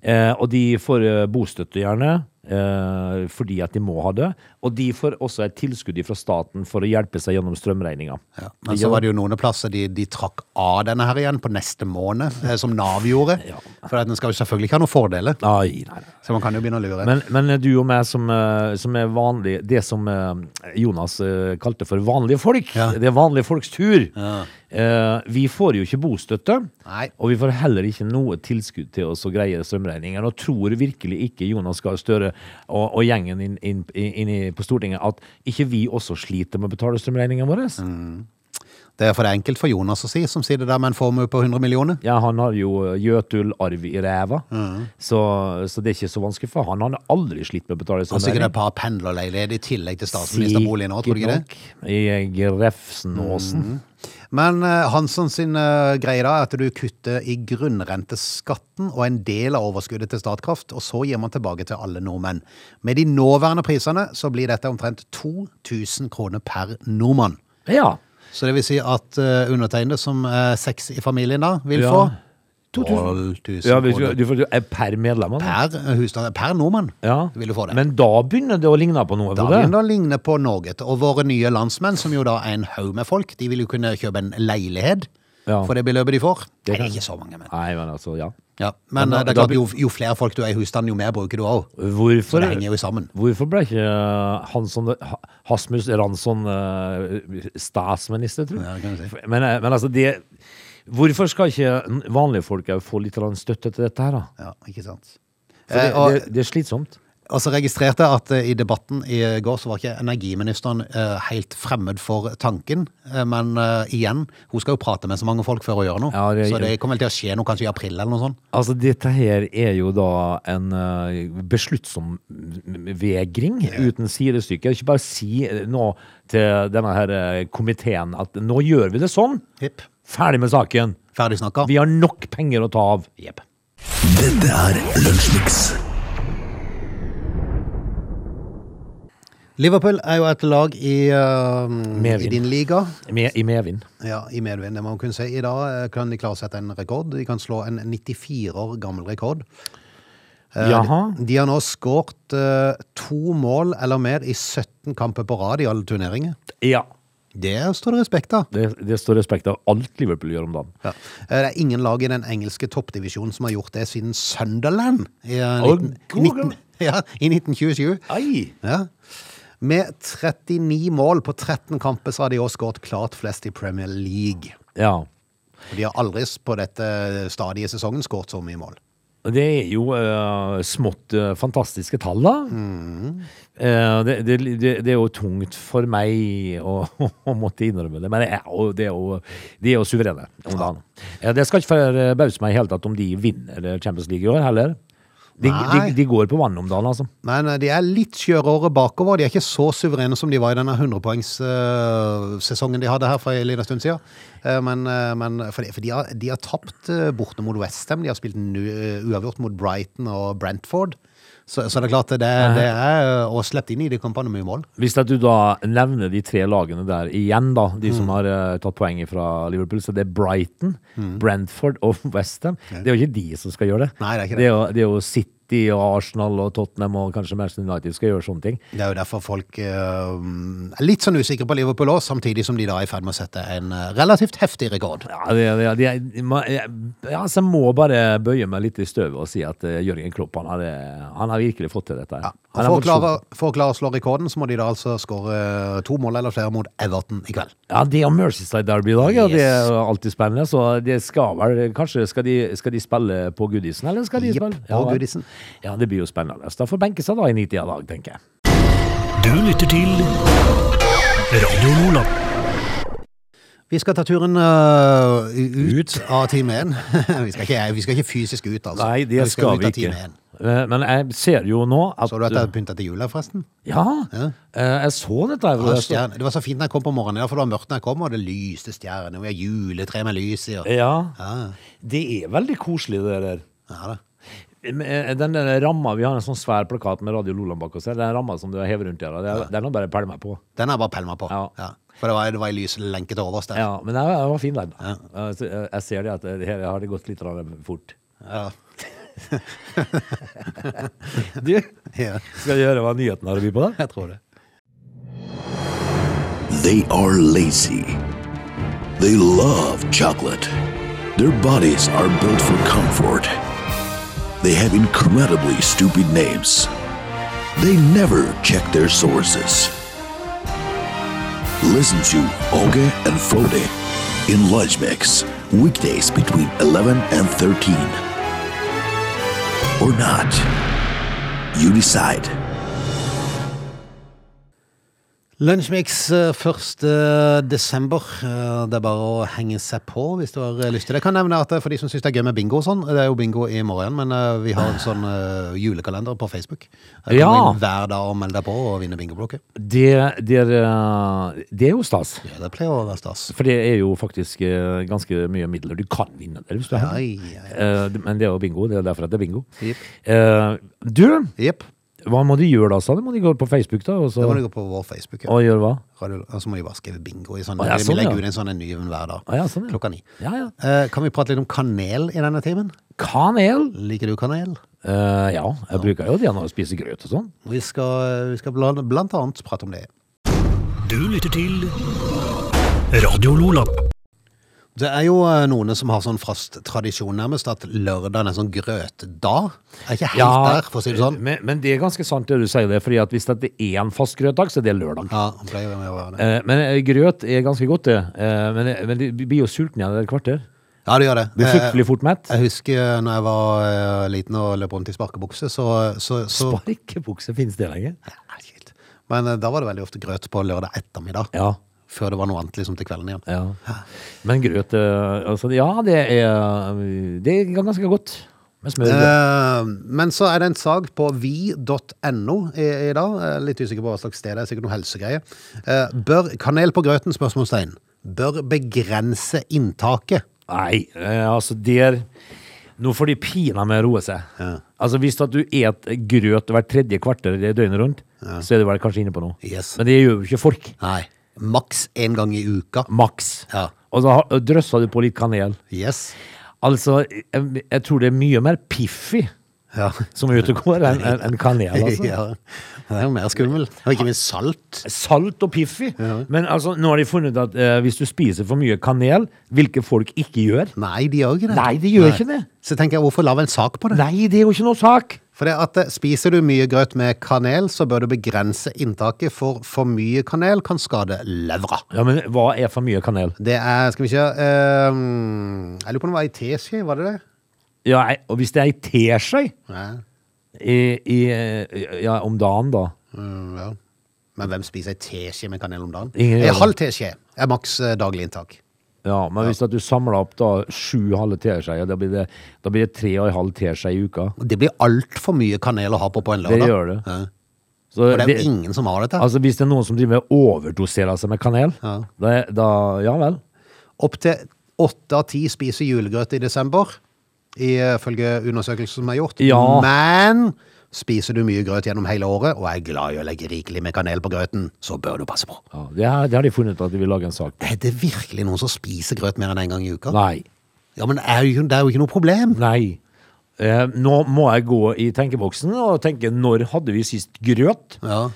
Speaker 3: Eh, og de får eh, bostøtte, gjerne. Eh, fordi at de må ha det. Og de får også et tilskudd fra staten for å hjelpe seg gjennom strømregninga.
Speaker 1: Ja, men så var det jo noen plasser de, de trakk av denne her igjen på neste måned, eh, som Nav gjorde.
Speaker 3: Ja.
Speaker 1: For at den skal jo selvfølgelig ikke ha noen fordeler,
Speaker 3: Ai, nei, nei.
Speaker 1: så man kan jo begynne å lure.
Speaker 3: Men, men du og meg som, eh, som er vanlig Det som eh, Jonas eh, kalte for vanlige folk
Speaker 1: Ja.
Speaker 3: Det er vanlige folks tur
Speaker 1: Ja.
Speaker 3: Eh, Vi får jo ikke bostøtte
Speaker 1: Nei.
Speaker 3: Og vi får heller ikke noe tilskudd til oss Å greie strømregninger Og tror virkelig ikke Jonas Gahr Støre og, og gjengen inn, inn, inn i, på Stortinget At ikke vi også sliter med å betale strømregningene våre
Speaker 1: Mm. Det er for det er enkelt for Jonas å si, som sitter der med en formue på 100 millioner.
Speaker 3: Ja, han har jo Gjøtul arv i ræva
Speaker 1: Mm.
Speaker 3: så, så det er ikke så vanskelig for han Han har aldri slitt med å betale
Speaker 1: Og sikkert
Speaker 3: strømregninger
Speaker 1: et par pendlerleiligheter i tillegg til statsministerboligen nå, tror du ikke det? Mm.
Speaker 3: Sikkert nok. I eh, Grefsenåsen.
Speaker 1: Men eh, Hansson sin eh, greie da er at du kutter i grunnrenteskatten og en del av overskuddet til Statkraft, og så gir man tilbake til alle nordmenn. Med de nåværende prisene så blir dette omtrent 2000 kroner per nordmann.
Speaker 3: Ja.
Speaker 1: Så det vil si at eh, undertegnede, som er seks i familien da, vil
Speaker 3: Ja.
Speaker 1: få
Speaker 3: 2000.
Speaker 1: 12 000
Speaker 3: ja hvis du,
Speaker 1: kroner
Speaker 3: du får, du er per medlem. da.
Speaker 1: per eh, husstand, per nordmann.
Speaker 3: Ja.
Speaker 1: Vil du få det.
Speaker 3: Men da begynner det å ligne på noe.
Speaker 1: Da
Speaker 3: Frode.
Speaker 1: begynner det å ligne på Norge. Og våre nye landsmenn, som jo da er en haug med folk, de vil jo kunne kjøpe en leilighet
Speaker 3: Ja.
Speaker 1: for det beløpet de får. Nei,
Speaker 3: Det
Speaker 1: det
Speaker 3: kan-
Speaker 1: er ikke så mange, men.
Speaker 3: Nei, men altså, ja.
Speaker 1: Ja, men
Speaker 3: Men da-
Speaker 1: eh, det er
Speaker 3: da
Speaker 1: klart, jo, jo flere folk du er i husstanden, jo mer bruker du òg. Så
Speaker 3: Hvorfor,
Speaker 1: det henger jo sammen.
Speaker 3: hvorfor ble ikke Hansson, Ha- Hasmus Ransson eh, statsminister, tror
Speaker 1: Ja, det
Speaker 3: jeg?
Speaker 1: kan du si.
Speaker 3: men, eh, men altså, det Hvorfor skal ikke vanlige folk eh, få litt eller annen støtte til dette her, da?
Speaker 1: Ja, ikke sant.
Speaker 3: For det,
Speaker 1: Eh, og,
Speaker 3: det, det er slitsomt.
Speaker 1: Og så registrerte jeg at eh, i debatten i går så var ikke energiministeren eh, helt fremmed for tanken. Eh, Men eh, igjen, hun skal jo prate med så mange folk før hun gjør noe.
Speaker 3: Ja, det-
Speaker 1: så det kommer vel til å skje noe kanskje i april eller noe sånt.
Speaker 3: Altså, dette her er jo da en eh, besluttsom vegring uten sidestykke. Ikke bare si eh, nå til denne her eh, komiteen at nå gjør vi det sånn.
Speaker 1: Hipp.
Speaker 3: Ferdig med saken.
Speaker 1: Ferdig snakka.
Speaker 3: Vi har nok penger å ta av. Jepp.
Speaker 2: Dette er Lunsjmix.
Speaker 1: Liverpool er jo et lag i, eh,
Speaker 3: Medvind.
Speaker 1: i din liga.
Speaker 3: Med, I medvind.
Speaker 1: Ja, I medvind, det må man kunne si. I dag eh, kan de klare å sette en rekord. De kan slå en 94 år gammel rekord. Eh,
Speaker 3: Jaha.
Speaker 1: De har nå skåret eh, to mål eller mer i 17 kamper på rad i alle turneringer.
Speaker 3: Ja.
Speaker 1: Det står det respekt av.
Speaker 3: Det, det står respekt av alt Liverpool gjør om dagen.
Speaker 1: Ja. Eh, Det er ingen lag i den engelske toppdivisjonen som har gjort det siden Sunderland i, eh,
Speaker 3: Å,
Speaker 1: 19,
Speaker 3: god
Speaker 1: 19,
Speaker 3: gammel.
Speaker 1: (laughs) ja, i 1927.
Speaker 3: Ai!
Speaker 1: Ja. Med 39 mål på 13 kamper så har de også skåret klart flest i Premier League.
Speaker 3: Ja.
Speaker 1: Og De har aldri s- på dette stadiet i sesongen skåret så mye mål.
Speaker 3: Det er jo eh, smått eh, fantastiske tall, da. Eh, det, det, det, det er jo tungt for meg å, (laughs) å måtte innrømme det, men det er jo, det er jo, de er jo suverene om dagen. Eh, det skal ikke forbause meg i hele tatt om de vinner Champions League i år heller. De, de,
Speaker 1: Nei.
Speaker 3: de går på vannet om dagen, altså.
Speaker 1: Men eh, de er litt skjørere bakover. De er ikke så suverene som de var i denne 100-poengssesongen de hadde her for en liten stund siden. Eh, Men, eh, men for de, for de, har, de har tapt eh, borte mot Westham. De har spilt nu- eh, uavgjort mot Brighton og Brentford. Så, så det er klart det, det er eh, å slippe inn i de kampene mye mål.
Speaker 3: Hvis at du da nevner de tre lagene der igjen, da, de
Speaker 1: Mm.
Speaker 3: som har eh, tatt poeng fra Liverpool, så det er Brighton, Brentford og Westham. Det er jo ikke de som skal gjøre det.
Speaker 1: Mm. Nei, det er ikke det.
Speaker 3: Det er, jo, det er jo City og Arsenal og Tottenham og kanskje Manchester United skal gjøre sånne ting.
Speaker 1: Det er jo derfor folk eh, er litt sånn usikre på Liverpool òg, samtidig som de da er i ferd med å sette en eh, relativt heftig rekord.
Speaker 3: Ja, det, det, det, man, jeg, altså, jeg må bare bøye meg litt i støvet og si at eh, Jørgen Klopp han har, eh, han har virkelig fått til dette. her.
Speaker 1: Ja. Og for,
Speaker 3: Han har
Speaker 1: å
Speaker 3: fått-
Speaker 1: klare, for å klare å slå rekorden, så må de da altså skåre eh, to mål eller flere mot Everton i kveld.
Speaker 3: Ja, det er Merseyside Derby i dag, ja. Det er
Speaker 1: Yes.
Speaker 3: jo alltid spennende. Så det skal vel Kanskje skal de, skal de spille på Goodison, eller skal de
Speaker 1: Jepp,
Speaker 3: spille
Speaker 1: på
Speaker 3: vel.
Speaker 1: Goodison.
Speaker 3: Ja, det blir jo spennende. Så da får benke seg da i 90 av dag, tenker jeg.
Speaker 2: Du lytter til Radio Nordland.
Speaker 1: Vi skal ta turen øh, ut, av time 1. (laughs) vi, skal ikke, vi skal ikke fysisk ut, altså.
Speaker 3: Nei, det
Speaker 1: Men
Speaker 3: skal
Speaker 1: ut
Speaker 3: vi
Speaker 1: av time
Speaker 3: ikke.
Speaker 1: én.
Speaker 3: Eh, Men jeg ser jo nå at
Speaker 1: Så du at jeg pynta til jula, forresten?
Speaker 3: Ja, eh, jeg så dette. her, hvor
Speaker 1: Ja,
Speaker 3: jeg så-
Speaker 1: stjerne. Det var så fint når jeg kom på morgenen, ja, for det var mørkt når jeg kom, og det lyste stjerner. og Vi har juletre med lys i. Og... Ah,
Speaker 3: Ja.
Speaker 1: Ja,
Speaker 3: Det er veldig koselig, det der.
Speaker 1: ja da.
Speaker 3: Eh, Den der ramma, Vi har en sånn svær plakat med Radio Loland bak oss. her. Den ramma som du hever rundt her, det er- den har bare pælma meg på.
Speaker 1: Den har jeg bare pelma på.
Speaker 3: Ja.
Speaker 1: Ja. For det var, det var ei lyslenke til overs der.
Speaker 3: Ja, Men den den var fin, den. Eh, så, eh, Jeg ser det at det her har det gått litt grann fort.
Speaker 1: Ja.
Speaker 3: (laughs)
Speaker 1: (laughs)
Speaker 3: Du,
Speaker 1: Ja.
Speaker 3: skal vi høre hva nyheten har å by på? da?
Speaker 1: (laughs) Jeg tror det.
Speaker 2: They are lazy. They love chocolate. Their bodies are built for comfort. They have incredibly stupid names. They never check their sources. Listen to Oge and Frode in Lunch Mix, weekdays between 11 and 13. Or not. You decide.
Speaker 1: Lunsjmix eh, 1. desember. Eh, Det er bare å henge seg på hvis du har eh, lyst til det. Jeg kan nevne at eh, for de som syns det er gøy med bingo og sånn, det er jo bingo i morgen, men eh, vi har en sånn eh, julekalender på Facebook. Der kan
Speaker 3: Ja.
Speaker 1: du inn hver dag og melde deg på og vinne bingoblokket.
Speaker 3: Det, det, er, eh, det er jo stas.
Speaker 1: Ja, det pleier å være stas.
Speaker 3: For det er jo faktisk eh, ganske mye midler du kan vinne der, hvis du er heldig.
Speaker 1: Ai, ai,
Speaker 3: Eh, det- Men det er jo bingo. Det er derfor at det er bingo.
Speaker 1: Jepp.
Speaker 3: Eh, Du,
Speaker 1: Jepp.
Speaker 3: hva må de gjøre da, sa du? Må de gå på Facebook, da? Og, så,
Speaker 1: Da må du gå på vår Facebook. Ja.
Speaker 3: og gjøre hva?
Speaker 1: Radio- Og så må de bare skrive bingo i sånn.
Speaker 3: Å, ja,
Speaker 1: vi
Speaker 3: sånn, ja.
Speaker 1: legger ut en sånn en ny en hver dag.
Speaker 3: Å, ja, sånn, ja.
Speaker 1: Klokka ni.
Speaker 3: Ja, ja.
Speaker 1: Eh, Kan vi prate litt om kanel i denne timen?
Speaker 3: Kanel?
Speaker 1: Liker du kanel?
Speaker 3: Eh, ja, jeg bruker jo det når jeg spiser grøt og sånn.
Speaker 1: Vi skal, eh, vi skal blant, blant annet prate om det.
Speaker 2: Du lytter til Radio Lola.
Speaker 1: Det er jo eh, noen som har sånn fast tradisjon nærmest, at lørdagen er sånn grøtdag. Jeg er ikke helt der, for å si det sånn.
Speaker 3: men, men det er ganske sant det du sier, det, fordi at hvis det er én fast grøtdag, så er det lørdag.
Speaker 1: Ja, han pleier jo med å være det.
Speaker 3: Eh, men eh, grøt er ganske godt, det. Eh, men, men du blir jo sulten igjen etter et kvarter.
Speaker 1: Ja, det gjør det.
Speaker 3: Blir fryktelig fort mett.
Speaker 1: Jeg husker når jeg var eh, liten og løp rundt i sparkebukse, så, så, så
Speaker 3: Sparkebukse, finnes det lenger?
Speaker 1: Nei, shit. Men eh, da var det veldig ofte grøt på lørdag ettermiddag.
Speaker 3: Ja.
Speaker 1: Før det var noe annet liksom til kvelden igjen.
Speaker 3: ja. Men grøt eh, altså, Ja, det er, eh, det er ganske godt med smør.
Speaker 1: Eh, Men så er det en sag på vi.no i, i dag. Eh, Litt usikker på hva slags sted det er, sikkert noe helsegreie. Eh, Bør kanel på grøten? spørsmålstegn. Bør begrense inntaket.
Speaker 3: Nei, eh, altså der Nå får de pinadø med roe seg.
Speaker 1: Ja.
Speaker 3: Altså Hvis at du et grøt hvert tredje kvarter det døgnet rundt, så er du vel kanskje inne på noe.
Speaker 1: Yes.
Speaker 3: Men det gjør jo ikke folk.
Speaker 1: Nei. Maks én gang i uka.
Speaker 3: Maks.
Speaker 1: Ja.
Speaker 3: Og så har- drøssa du på litt kanel.
Speaker 1: Yes.
Speaker 3: Altså, jeg, jeg tror det er mye mer Piffi
Speaker 1: Ja.
Speaker 3: som er ute og går, enn enn- enn kanel. Altså.
Speaker 1: (laughs) ja. Det er jo mer skummel. Og ikke minst salt.
Speaker 3: Salt og Piffi. Men altså, nå har de funnet at eh, hvis du spiser for mye kanel, hvilket folk ikke gjør
Speaker 1: Nei, de gjør ikke det.
Speaker 3: Nei, de gjør ikke det.
Speaker 1: Så tenker jeg, hvorfor lage en sak på det?
Speaker 3: Nei, det er jo ikke noe sak!
Speaker 1: For det at eh, spiser du mye grøt med kanel, så bør du begrense inntaket, for for mye kanel kan skade levra.
Speaker 3: Ja, Men hva er for mye kanel?
Speaker 1: Det er, skal vi se eh, Jeg lurer på om det var ei teskje, var det det?
Speaker 3: Ja, ei- og hvis det er ei teskje
Speaker 1: Nei.
Speaker 3: i, i, eh, ja, om dagen, da.
Speaker 1: Mm, ja. Men hvem spiser ei teskje med kanel om dagen?
Speaker 3: Ingen gjør
Speaker 1: Ei
Speaker 3: det.
Speaker 1: halv teskje er maks eh, daglig inntak.
Speaker 3: Ja, Men hvis at du samler opp da sju halve teskjeer, da, blir det- da blir det tre og en halv teskje i uka.
Speaker 1: Og Det blir altfor mye kanel å ha på på en
Speaker 3: Det
Speaker 1: lørdag.
Speaker 3: gjør det.
Speaker 1: Ja.
Speaker 3: Så
Speaker 1: Og det er jo
Speaker 3: det-
Speaker 1: ingen som har dette.
Speaker 3: altså, hvis det er noen som driver og overdoserer seg med kanel,
Speaker 1: Ja.
Speaker 3: da, er- da Ja vel.
Speaker 1: Opptil åtte av ti spiser julegrøt i desember, ifølge undersøkelser som er gjort.
Speaker 3: Ja.
Speaker 1: Men spiser du mye grøt gjennom hele året, og er glad i å legge rikelig med kanel på grøten, så bør du passe på.
Speaker 3: Ja, det, har- det har de funnet ut at de vil lage en sak på.
Speaker 1: Er det virkelig noen som spiser grøt mer enn én en gang i uka?
Speaker 3: Nei.
Speaker 1: Ja, men er jo, det er jo ikke noe problem.
Speaker 3: Nei. Eh, nå må jeg gå i tenkeboksen og tenke når hadde vi sist grøt?
Speaker 1: Ja.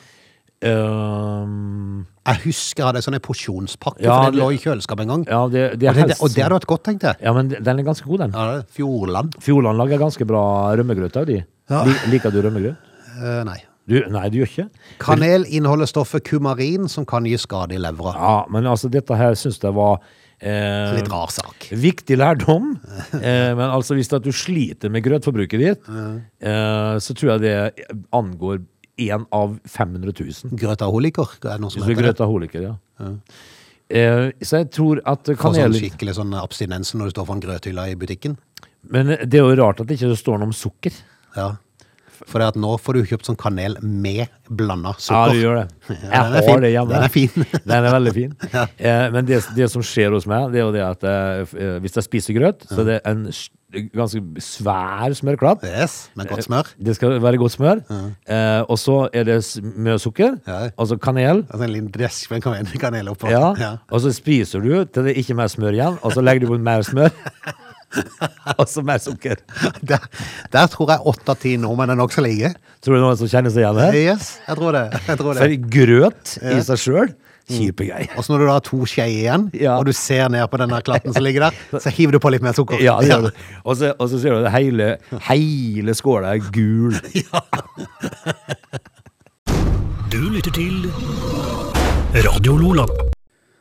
Speaker 3: Ehm,
Speaker 1: Jeg husker jeg hadde en sånn en porsjonspakke,
Speaker 3: Ja,
Speaker 1: for den
Speaker 3: det-
Speaker 1: lå i kjøleskapet en gang.
Speaker 3: ja, det, det er
Speaker 1: og, det,
Speaker 3: helse.
Speaker 1: og det hadde vært godt, tenkte jeg.
Speaker 3: Ja, men den er ganske god, den.
Speaker 1: Ja, det er Fjordland?
Speaker 3: Fjordland lager ganske bra rømmegrøt av de.
Speaker 1: Ja.
Speaker 3: Lik- Liker du rømmegrøt?
Speaker 1: Eh, nei.
Speaker 3: Du, nei, du gjør ikke.
Speaker 1: Kanel inneholder stoffet kumarin, som kan gi skade i levra.
Speaker 3: Ja, men altså, dette her syns jeg var eh,
Speaker 1: Litt rar sak.
Speaker 3: Viktig lærdom.
Speaker 1: (laughs)
Speaker 3: Eh, men altså, hvis at du sliter med grøtforbruket ditt, eh, så tror jeg det angår én av 500 000.
Speaker 1: Grøtaholiker, er det noe som
Speaker 3: Hvis du er
Speaker 1: heter det?
Speaker 3: grøtaholiker, ja. Eh, så jeg tror at
Speaker 1: Få sånn
Speaker 3: kanel
Speaker 1: skikkelig sånn abstinensen når du står foran grøthylla i butikken.
Speaker 3: Men det er jo rart at det ikke står noe om sukker.
Speaker 1: Ja. For det at nå får du kjøpt sånn kanel med blanda
Speaker 3: Ja,
Speaker 1: sukker.
Speaker 3: du gjør det.
Speaker 1: (laughs)
Speaker 3: Jeg
Speaker 1: den er
Speaker 3: har
Speaker 1: fin.
Speaker 3: det hjemme.
Speaker 1: Den er fin.
Speaker 3: (laughs) Den er veldig
Speaker 1: (laughs)
Speaker 3: fin. Eh, men det, det som skjer hos meg, det er jo det at eh, f- eh, hvis jeg spiser grøt, så er det en s- ganske svær smørklatt.
Speaker 1: Yes, med
Speaker 3: Eh,
Speaker 1: godt smør.
Speaker 3: Det skal være godt smør. Eh, og så er det s- mye sukker,
Speaker 1: Ja.
Speaker 3: altså kanel.
Speaker 1: Altså en liten dresk med kanel, kanel oppå.
Speaker 3: Ja. Og så spiser du til det er ikke mer smør igjen, og så legger du på mer
Speaker 1: (laughs)
Speaker 3: smør. og så mer sukker.
Speaker 1: Der, der tror jeg åtte av ti nordmenn er nokså like.
Speaker 3: Tror du noen som kjenner seg igjen her?
Speaker 1: Yes, jeg tror det. Jeg tror det.
Speaker 3: For grøt i seg sjøl,
Speaker 1: Mm.
Speaker 3: kjipe greier.
Speaker 1: Og så når du da har to skjeer igjen,
Speaker 3: Ja.
Speaker 1: og du ser ned på den der klatten som ligger
Speaker 3: (laughs)
Speaker 1: der, så hiver du på litt mer sukker.
Speaker 3: Ja, det gjør du. Og så, og så ser du at hele, hele skåla er gul.
Speaker 4: Du lytter til Radio Lola.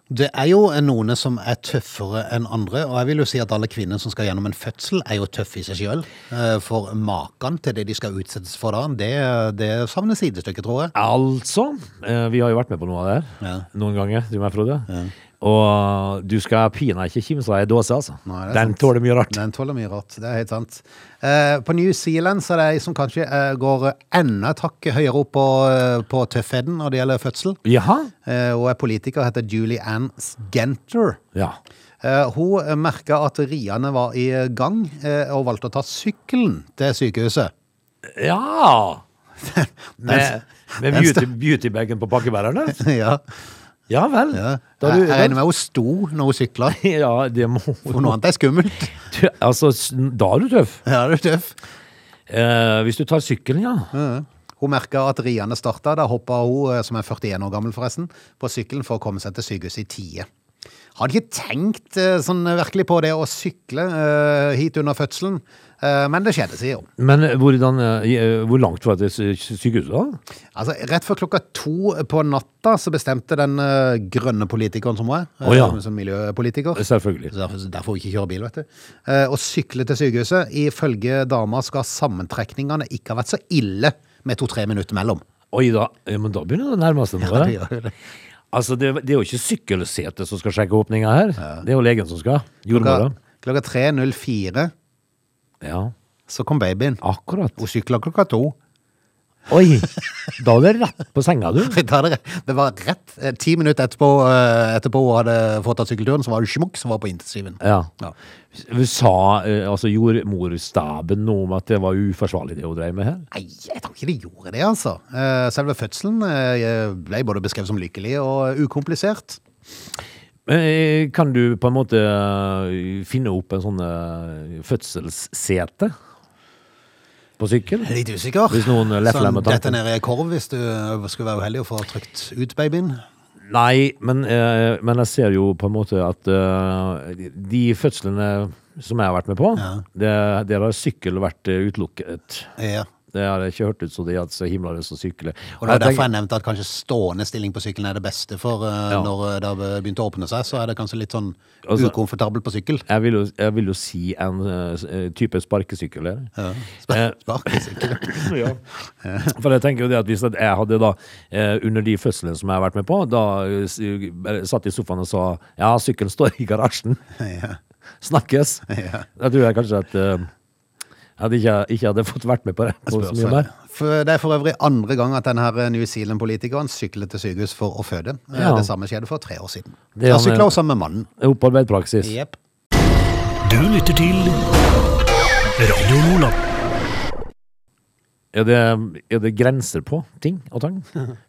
Speaker 1: Det er jo noen som er tøffere enn andre, og jeg vil jo si at alle kvinner som skal gjennom en fødsel, er jo tøffe i seg sjøl. For maken til det de skal utsettes for da, det, det savner sidestykket, tror jeg.
Speaker 3: Altså, eh, vi har jo vært med på noe av det her
Speaker 1: Ja.
Speaker 3: noen ganger, du og jeg, Frode. Og du skal pinadø ikke kimse av ei dåse, altså.
Speaker 1: Nei, det er
Speaker 3: Den
Speaker 1: sant.
Speaker 3: tåler mye rart.
Speaker 1: Den tåler mye rart, det er helt sant. Eh, På New Zealand så er det ei som kanskje eh, går enda et hakk høyere opp på, eh, på tøffheten når det gjelder fødsel.
Speaker 3: Jaha?
Speaker 1: Eh, Hun er politiker, heter Julie Ann Skenter.
Speaker 3: Ja.
Speaker 1: Eh, Hun merka at riene var i gang, eh, og valgte å ta sykkelen til sykehuset. (laughs)
Speaker 3: ja. Med, med
Speaker 1: den
Speaker 3: beauty, beautybagen på pakkebærerne?
Speaker 1: ja.
Speaker 3: Ja vel.
Speaker 1: (laughs) Ja.
Speaker 3: Da
Speaker 1: jeg
Speaker 3: du,
Speaker 1: jeg regner med hun sto når hun sykla.
Speaker 3: (laughs) ja, det må
Speaker 1: For noe annet er skummelt. (laughs)
Speaker 3: Du- (laughs) Altså, s- da er du tøff.
Speaker 1: Ja, det er tøff.
Speaker 3: Eh, hvis du tar sykkelen, ja.
Speaker 1: Hun merka at riene starta. Da hoppa hun, eh, som er 41 år gammel forresten, på sykkelen for å komme seg til sykehuset i tide. Hadde ikke tenkt eh, sånn virkelig på det å sykle eh, hit under fødselen, eh, men det skjedde, sier hun.
Speaker 3: Men hvordan, eh, hvor langt var det til sy- sykehuset, da?
Speaker 1: Altså, rett før klokka to på natta så bestemte den eh, grønne politikeren som var,
Speaker 3: Å ja.
Speaker 1: som, som miljøpolitiker,
Speaker 3: Selvfølgelig.
Speaker 1: Så Derfor, derfor ikke kjøre bil, vet du. Eh, Å sykle til sykehuset. Ifølge dama skal sammentrekningene ikke ha vært så ille med to-tre minutter mellom.
Speaker 3: Oi da, ja, men da begynner det å
Speaker 1: (laughs)
Speaker 3: nærme seg noe.
Speaker 1: det gjør det.
Speaker 3: altså, det, det er jo ikke sykkelsetet som skal sjekke åpninga her. Det er jo legen som skal. Jordmora.
Speaker 1: Klokka, klokka 3.04
Speaker 3: Ja,
Speaker 1: så kom babyen.
Speaker 3: akkurat.
Speaker 1: Hun sykla klokka to. (laughs)
Speaker 3: Oi! Da er det rett på senga, du.
Speaker 1: Da er Det rett- det var rett eh, ti minutter etterpå, eh, etterpå hun hadde fått tatt sykkelturen, så var det smukk som var på intensiven.
Speaker 3: Ja.
Speaker 1: Ja.
Speaker 3: Sa eh, altså jordmorstaben noe om at det var uforsvarlig det hun drev med her?
Speaker 1: Nei, jeg tror ikke de gjorde det, altså. Eh, Selve fødselen eh, ble både beskrevet som lykkelig og ukomplisert.
Speaker 3: Eh, Kan du på en måte eh, finne opp en sånn eh, fødselssete på sykkel?
Speaker 1: Litt usikker. Sånn
Speaker 3: Hvis noen lefler med tanken.
Speaker 1: Dette nede i korv, hvis du eh, skulle være uheldig og få trykt ut babyen.
Speaker 3: Nei, men, eh, men jeg ser jo på en måte at eh, de- de fødslene som jeg har vært med på,
Speaker 1: Ja.
Speaker 3: det, der har sykkel vært eh, utelukket.
Speaker 1: Ja.
Speaker 3: Det har jeg ikke hørt ut som de at så himla lyst til å sykle.
Speaker 1: Og det var
Speaker 3: Jeg tenker-
Speaker 1: derfor jeg nevnte at kanskje stående stilling på sykkelen er det beste, for eh,
Speaker 3: Ja.
Speaker 1: når det har begynt å åpne seg, så er det kanskje litt sånn
Speaker 3: Altså-
Speaker 1: ukomfortabelt på sykkel.
Speaker 3: jeg vil, jo, jeg vil jo si en eh, s- eh, type sparkesykkel. eller?
Speaker 1: Ja.
Speaker 3: Eh,
Speaker 1: Sparkesykkel.
Speaker 3: For jeg tenker jo det at hvis at jeg hadde da, eh, under de fødslene som jeg har vært med på, da eh, s- eh, satt i sofaen og sa ja, sykkelen står i garasjen,
Speaker 1: (laughs)
Speaker 3: (laughs)
Speaker 1: Ja.
Speaker 3: snakkes.
Speaker 1: Ja.
Speaker 3: Da tror jeg kanskje at eh, jeg hadde ikke, ikke hadde fått vært med på det. På så mye mer.
Speaker 1: For det er for øvrig andre gang at denne eh, New Zealand-politikeren syklet til sykehus for å føde. Eh,
Speaker 3: Ja.
Speaker 1: Det samme skjedde for tre år siden.
Speaker 3: Det
Speaker 1: Han eh,
Speaker 3: er han-
Speaker 1: sykla også sammen med mannen.
Speaker 3: Opparbeidet praksis.
Speaker 1: Jepp.
Speaker 4: Du lytter til Radio Lola.
Speaker 3: Er, det, er det grenser på ting og tang?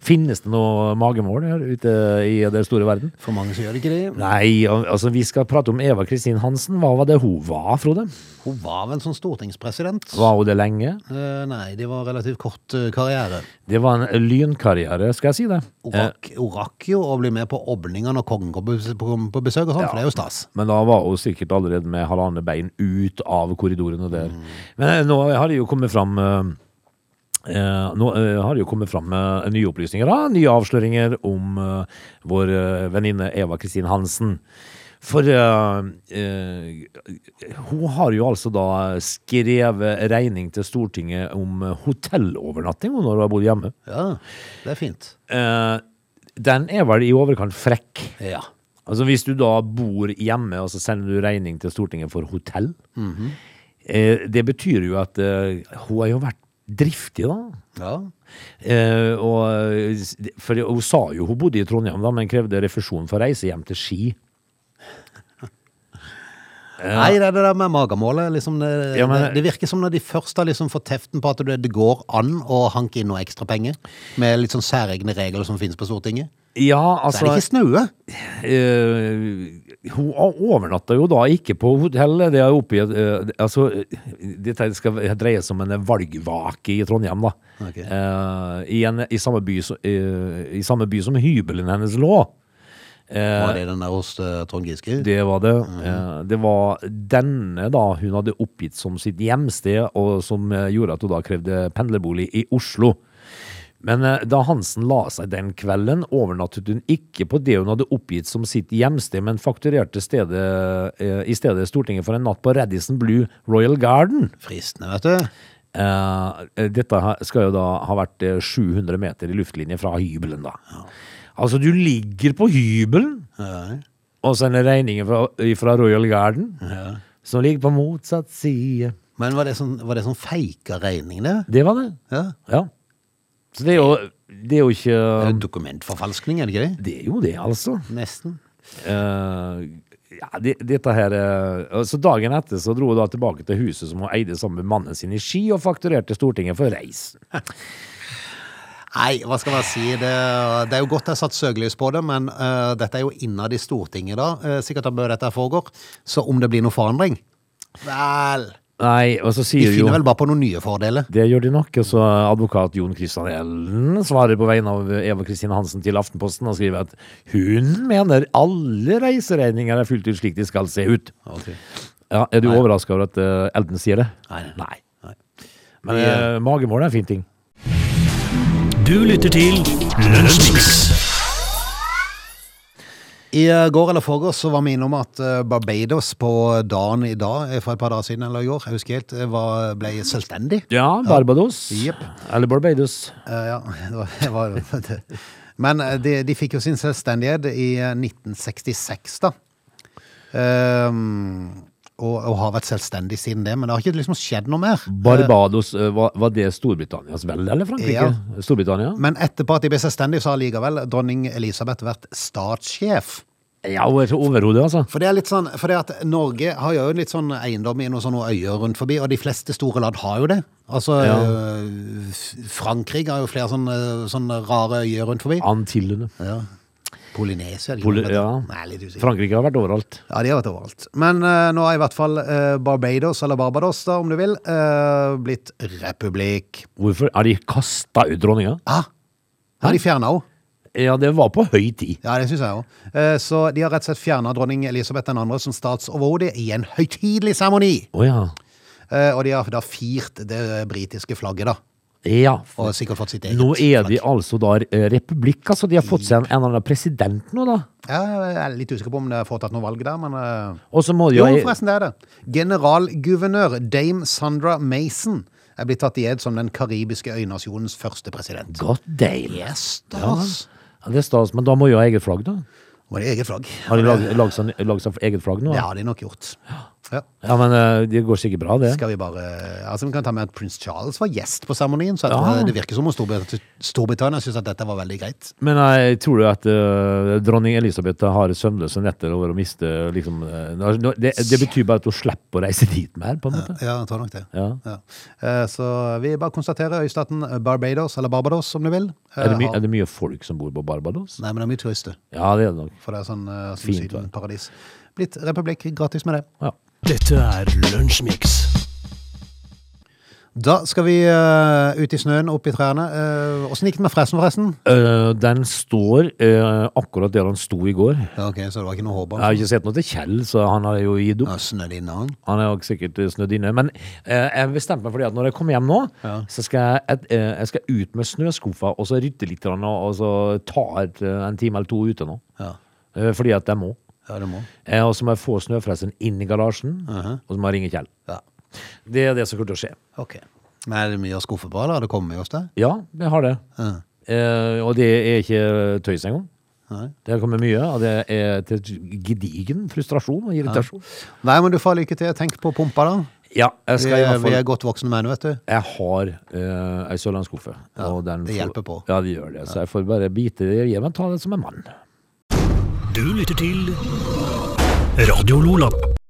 Speaker 3: Finnes det noe magemål her ute i den store verden?
Speaker 1: For mange så gjør det ikke det.
Speaker 3: Nei, al- altså vi skal prate om Eva Kristin Hansen. Hva var det hun var, Frode?
Speaker 1: Hun var vel sånn stortingspresident.
Speaker 3: Var hun det lenge?
Speaker 1: Eh, nei, det var relativt kort eh, karriere.
Speaker 3: Det var en lynkarriere, skal jeg si det.
Speaker 1: Hun
Speaker 3: Eh,
Speaker 1: rakk, hun rakk jo å bli med på Obningen når kongen kom på bes- på på besøk og sånn, for det er jo stas.
Speaker 3: men da var hun sikkert allerede med halvannet bein ut av korridorene der. Men eh, nå har det jo kommet fram eh, eh, Nå eh, har det jo kommet fram eh, nye opplysninger, da, nye avsløringer om eh, vår eh, venninne Eva Kristin Hansen. For eh, eh, hun har jo altså da skrevet regning til Stortinget om eh, hotellovernatting hun, når hun har bodd hjemme.
Speaker 1: Ja, det er fint.
Speaker 3: Eh, den er vel i overkant frekk.
Speaker 1: Ja.
Speaker 3: Altså Hvis du da bor hjemme, og så sender du regning til Stortinget for hotell, eh, det betyr jo at eh, hun har jo vært driftig, da.
Speaker 1: ja.
Speaker 3: Eh, og, eh, for hun sa jo hun bodde i Trondheim, da, men krevde refusjon for reise hjem til Ski.
Speaker 1: Nei, det er det der med magemålet. Liksom det,
Speaker 3: Ja, men-
Speaker 1: det, det virker som når de først har liksom fått teften på at det, det går an å hanke inn noe ekstra penger, med litt sånn særegne regler som finnes på Stortinget,
Speaker 3: Ja,
Speaker 1: så er det
Speaker 3: altså
Speaker 1: ikke snaue.
Speaker 3: eh, Hun overnatta jo da ikke på hotellet. Det er oppgitt eh, Altså, eh, dette skal dreie seg om en valgvake i Trondheim, da.
Speaker 1: Ok.
Speaker 3: Eh, i, en, i, samme by, som- eh, I samme by som hybelen hennes lå. Eh,
Speaker 1: Var det den der hos eh, Trond Giske?
Speaker 3: det var det. Eh, Det var denne da hun hadde oppgitt som sitt hjemsted, og som eh, gjorde at hun da krevde pendlerbolig i Oslo. Men eh, da Hansen la seg den kvelden, overnattet hun ikke på det hun hadde oppgitt som sitt hjemsted, men fakturerte stedet, eh, i stedet Stortinget for en natt på Radisson Blue Royal Garden.
Speaker 1: Fristende, vet du.
Speaker 3: Eh, dette ha- skal jo da ha vært eh, 700 meter i luftlinje fra hybelen, da. Altså, du ligger på hybelen!
Speaker 1: Ja.
Speaker 3: og sender regninger fra, fra Royal Garden, som ligger på motsatt side.
Speaker 1: Men var det sånn, var det sånn feika regning, det?
Speaker 3: Det var det.
Speaker 1: Ja.
Speaker 3: Ja. Så det er jo, det er jo ikke
Speaker 1: Det er Dokumentforfalskning, er det ikke det?
Speaker 3: Det er jo det, altså.
Speaker 1: Nesten.
Speaker 3: Eh, ja, det, dette her eh, Så dagen etter så dro hun da tilbake til huset som hun eide sammen med mannen sin i Ski, og fakturerte Stortinget for reisen.
Speaker 1: Nei, hva skal man si? Det, det er jo godt jeg har satt søkelys på det, men eh, dette er jo innad i Stortinget da, eh, sikkert da bør dette foregår. Så om det blir noe forandring, vel,
Speaker 3: Nei, og så
Speaker 1: De
Speaker 3: sier jo
Speaker 1: finner vel bare på noen nye fordeler.
Speaker 3: Det gjør de nok. Og så advokat Jon Christian Ellen svarer på vegne av Eva Kristine Hansen til Aftenposten og skriver at hun mener alle reiseregninger er fullt ut slik de skal se ut. Ja, Er du overraska over at eh, Elden sier det?
Speaker 1: Nei, nei.
Speaker 3: Men eh, magemål er en fin ting.
Speaker 4: Du lytter til Lunsjmix.
Speaker 1: I eh, går eller forgårs så var vi innom at eh, Barbados på dagen i dag, eh, for et par dager siden eller i går, jeg husker helt, eh, var, ble selvstendig.
Speaker 3: Ja, Barbados.
Speaker 1: Jep.
Speaker 3: Eller Barbados.
Speaker 1: Eh, ja, (laughs) det var, det var (laughs) det. Men eh, de, de fikk jo sin selvstendighet i eh, 1966, da. Ehm, og, og har vært selvstendig siden det, men det har ikke liksom skjedd noe mer.
Speaker 3: Barbados, eh, var, var det Storbritannias vel, eller Frankrike?
Speaker 1: Ja.
Speaker 3: Storbritannia?
Speaker 1: Men etterpå at de ble selvstendige, så har likevel dronning Elisabeth vært statssjef.
Speaker 3: Ja, over- overhodet, altså.
Speaker 1: For det er litt sånn, for det at Norge har jo litt sånn eiendom i noen sånne øyer rundt forbi, og de fleste store land har jo det. Altså,
Speaker 3: Ja.
Speaker 1: øh, F- Frankrike har jo flere sånne, sånne rare øyer rundt forbi.
Speaker 3: Antillene.
Speaker 1: Ja. Polynesia, er det ikke
Speaker 3: Poly-
Speaker 1: noe det heter?
Speaker 3: ja.
Speaker 1: Nei, litt usikker.
Speaker 3: Frankrike har vært overalt.
Speaker 1: Ja, de har vært overalt. Men eh, nå har i hvert fall eh, Barbados, eller Barbados da, om du vil, eh, blitt republikk. Ah!
Speaker 3: Hvorfor? Har de kasta ut dronninga?
Speaker 1: Ja, har de fjernet henne?
Speaker 3: Ja, det var på høy tid.
Speaker 1: Ja, det synes jeg også. Eh, Så de har rett og slett fjernet dronning Elisabeth 2. som statsoverhode i en høytidelig seremoni.
Speaker 3: Å ja.
Speaker 1: Eh, Og de har da firt det britiske flagget da,
Speaker 3: Ja.
Speaker 1: og sikkert fått sitt eget
Speaker 3: Nå er de
Speaker 1: flagg.
Speaker 3: altså da eh, republikk, altså. De har fått seg en, en eller annen president nå, da.
Speaker 1: Ja, jeg er litt usikker på om det har foretatt noe valg der, men... eh,
Speaker 3: Og så må de
Speaker 1: Jo,
Speaker 3: ha-
Speaker 1: forresten, det er det. Generalguvernør Dame Sandra Mason er blitt tatt i ed som den karibiske øynasjonens første president.
Speaker 3: God damn.
Speaker 1: Yes, stas!
Speaker 3: Ja, det er stas, men da må jo ha eget flagg, da.
Speaker 1: Var det eget flagg?
Speaker 3: Har de lag- lagd seg lagd seg eget flagg nå?
Speaker 1: Det
Speaker 3: da?
Speaker 1: har de nok gjort. Ja.
Speaker 3: ja men eh, det går sikkert bra, det.
Speaker 1: Skal vi bare Altså, vi kan ta med at prins Charles var gjest på seremonien, så jeg
Speaker 3: Ja.
Speaker 1: tror det virker som om Storbrit- Storbritannia syns at dette var veldig greit.
Speaker 3: Men jeg tror du at eh, dronning Elisabeth har søvnløse netter over å miste liksom, eh, nå- nå- det, det betyr bare at hun slipper å reise dit mer, på en måte.
Speaker 1: Ja, jeg tror nok det.
Speaker 3: Ja.
Speaker 1: Eh, Så vi bare konstaterer øystaten Barbados, eller Barbados om du vil. eh,
Speaker 3: Er det, my,
Speaker 1: har-
Speaker 3: er det mye folk som bor på Barbados?
Speaker 1: Nei, men det er mye turister,
Speaker 3: Ja, det er det nok.
Speaker 1: for det er sånn eh, som
Speaker 3: Fint,
Speaker 1: Syden paradis. Blitt republikk, gratis med det.
Speaker 3: Ja.
Speaker 4: Dette er Lunsjmix.
Speaker 1: Da skal vi eh, ut i snøen, opp i trærne. Åssen gikk det med fresen, forresten?
Speaker 3: Eh, den står eh, akkurat der han sto i går. Jeg
Speaker 1: Ja, ok, Så det var ikke noe håp?
Speaker 3: har
Speaker 1: altså.
Speaker 3: ikke sett noe til Kjell, så han har jo gitt opp.
Speaker 1: Ja, Snødd innan?
Speaker 3: Han er jo sikkert eh, snødd inne. Men eh, jeg bestemte meg for det at når jeg kommer hjem nå,
Speaker 1: Ja.
Speaker 3: så skal jeg, et, eh, jeg skal ut med snøskuffa og så rydde litt, grann, og og så ta et, eh, en time eller to ute nå.
Speaker 1: Ja.
Speaker 3: Eh, fordi at jeg må.
Speaker 1: ja, det må.
Speaker 3: Eh, Og så må jeg få snøfresen inn i garasjen, og så må jeg ringe Kjell.
Speaker 1: Ja.
Speaker 3: Det er det som kommer til å skje.
Speaker 1: Ok. Men er det mye å skuffe på, eller har det kommet hos deg?
Speaker 3: Ja, jeg har det.
Speaker 1: Ja.
Speaker 3: Eh, og det er ikke tøys engang.
Speaker 1: Nei.
Speaker 3: Det har kommet mye, og det er til gedigen frustrasjon og irritasjon.
Speaker 1: Nei, men du får lykke til. Tenk på pumpa, da.
Speaker 3: Ja, jeg
Speaker 1: Vi
Speaker 3: skal i
Speaker 1: er,
Speaker 3: hvert
Speaker 1: vi er
Speaker 3: fall
Speaker 1: godt voksne menn, vet du.
Speaker 3: Jeg har eh, ei sørlandsskuffe. og den
Speaker 1: det
Speaker 3: får-
Speaker 1: hjelper på.
Speaker 3: Ja, det gjør det. Så jeg får bare bite det i hjemmet og ta det som en mann.
Speaker 4: Du lytter til Radio Lola.